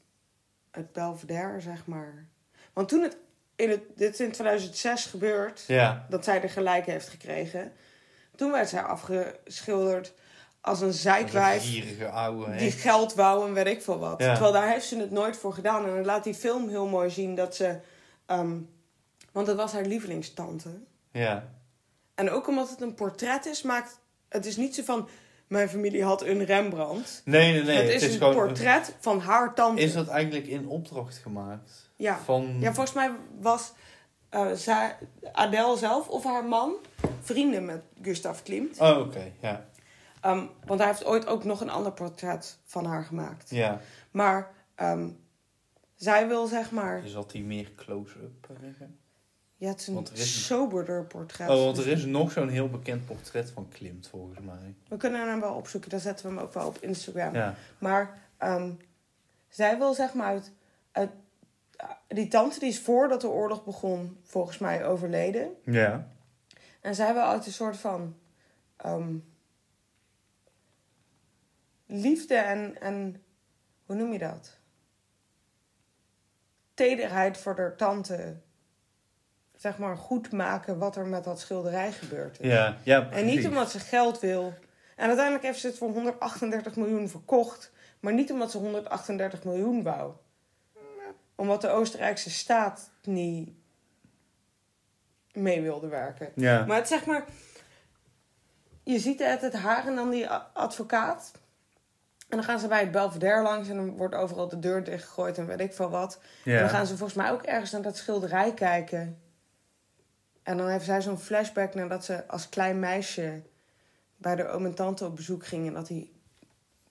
Speaker 1: het Belvedere, zeg maar. Want toen het in, het, dit is in 2006 gebeurd,
Speaker 2: Ja.
Speaker 1: dat zij er gelijk heeft gekregen. Toen werd zij afgeschilderd als een zeikwijf
Speaker 2: Een gierige ouwe.
Speaker 1: die
Speaker 2: hè?
Speaker 1: geld wou en weet ik veel wat.
Speaker 2: Ja.
Speaker 1: Terwijl daar heeft ze het nooit voor gedaan. En dan laat die film heel mooi zien dat ze... ehm, want dat was haar lievelingstante.
Speaker 2: Ja.
Speaker 1: En ook omdat het een portret is, maakt... Het is niet zo van, mijn familie had een Rembrandt.
Speaker 2: Nee, nee, nee.
Speaker 1: het is, een
Speaker 2: gewoon,
Speaker 1: portret van haar tante.
Speaker 2: Is dat eigenlijk in opdracht gemaakt?
Speaker 1: Ja.
Speaker 2: Van...
Speaker 1: Ja, volgens mij was eh, zij, Adele zelf of haar man vrienden met Gustav Klimt.
Speaker 2: Oh, oké. Ja.
Speaker 1: Ehm, want hij heeft ooit ook nog een ander portret van haar gemaakt.
Speaker 2: Ja.
Speaker 1: Maar ehm, zij wil zeg maar...
Speaker 2: Dus had hij meer close-up? eh?
Speaker 1: Ja, het is een
Speaker 2: Want er is een-
Speaker 1: soberder portret.
Speaker 2: Oh, want er is nog zo'n heel bekend portret van Klimt, volgens mij.
Speaker 1: We kunnen hem wel opzoeken, dan zetten we hem ook wel op Instagram.
Speaker 2: Ja.
Speaker 1: Maar ehm, zij wil zeg maar uit, uit- Die tante die is voordat de oorlog begon, volgens mij overleden.
Speaker 2: Ja.
Speaker 1: En zij wil uit een soort van... ehm, liefde en, en... Hoe noem je dat? Tederheid voor haar tante... Zeg maar goed maken wat er met dat schilderij gebeurd is.
Speaker 2: Ja, ja precies.
Speaker 1: En niet omdat ze geld wil. En uiteindelijk heeft ze het voor 138 miljoen verkocht. Maar niet omdat ze 138 miljoen wou. Omdat de Oostenrijkse staat niet mee wilde werken.
Speaker 2: Ja.
Speaker 1: Maar het zeg maar... Je ziet het, het haar en dan die a- advocaat. En dan gaan ze bij het Belvedere langs en dan wordt overal de deur dichtgegooid en weet ik veel wat. En
Speaker 2: Ja.
Speaker 1: dan gaan ze volgens mij ook ergens naar dat schilderij kijken. En dan heeft zij zo'n flashback nadat ze als klein meisje bij de oom en tante op bezoek ging en dat hij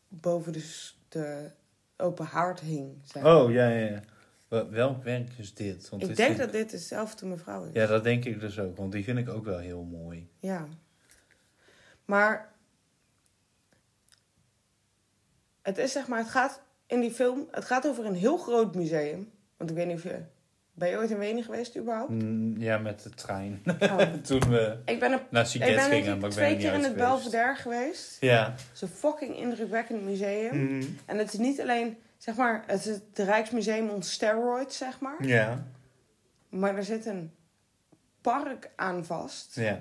Speaker 1: boven de, s- de open haard hing. zeg.
Speaker 2: Oh, ja, ja, ja. Wel- Welk werk is dit? Want
Speaker 1: ik
Speaker 2: is
Speaker 1: denk
Speaker 2: dit-
Speaker 1: dat dit dezelfde mevrouw is.
Speaker 2: Ja, dat denk ik dus ook, want die vind ik ook wel heel mooi.
Speaker 1: Ja. Maar het is zeg maar, het gaat in die film, het gaat over een heel groot museum. Want ik weet niet of je, ben je ooit in Wenen geweest überhaupt?
Speaker 2: Mm, Ja, met de trein.
Speaker 1: Oh.
Speaker 2: Toen we
Speaker 1: Ik ben, er,
Speaker 2: naar
Speaker 1: ik
Speaker 2: Siget
Speaker 1: ben denk
Speaker 2: gingen,
Speaker 1: ik
Speaker 2: maar ik ben
Speaker 1: twee
Speaker 2: er niet
Speaker 1: keer in
Speaker 2: uit
Speaker 1: het
Speaker 2: geweest.
Speaker 1: Belvedere geweest.
Speaker 2: Ja.
Speaker 1: Het is een fucking indrukwekkend museum.
Speaker 2: Mhm.
Speaker 1: En het is niet alleen, zeg maar, het is het Rijksmuseum on steroids, zeg maar.
Speaker 2: Ja.
Speaker 1: Maar er zit een park aan vast.
Speaker 2: Ja.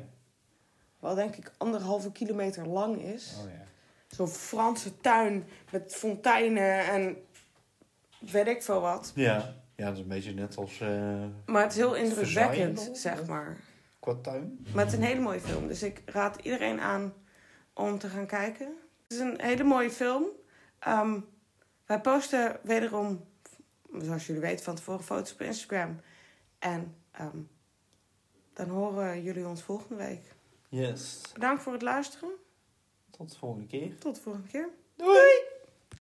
Speaker 1: Wat denk ik anderhalve kilometer lang is.
Speaker 2: Oh, ja.
Speaker 1: Zo'n Franse tuin met fonteinen en weet ik veel wat.
Speaker 2: Ja. Ja, dat is een beetje net als eh
Speaker 1: Maar het is heel
Speaker 2: Versailles,
Speaker 1: indrukwekkend,
Speaker 2: of?
Speaker 1: zeg maar.
Speaker 2: qua tuin.
Speaker 1: Maar het is een hele mooie film. Dus ik raad iedereen aan om te gaan kijken. Het is een hele mooie film. Ehm, wij posten wederom, zoals jullie weten van tevoren, foto's op Instagram. En ehm, dan horen jullie ons volgende week.
Speaker 2: Yes.
Speaker 1: Bedankt voor het luisteren.
Speaker 2: Tot de volgende keer.
Speaker 1: Tot de volgende keer.
Speaker 2: Doei.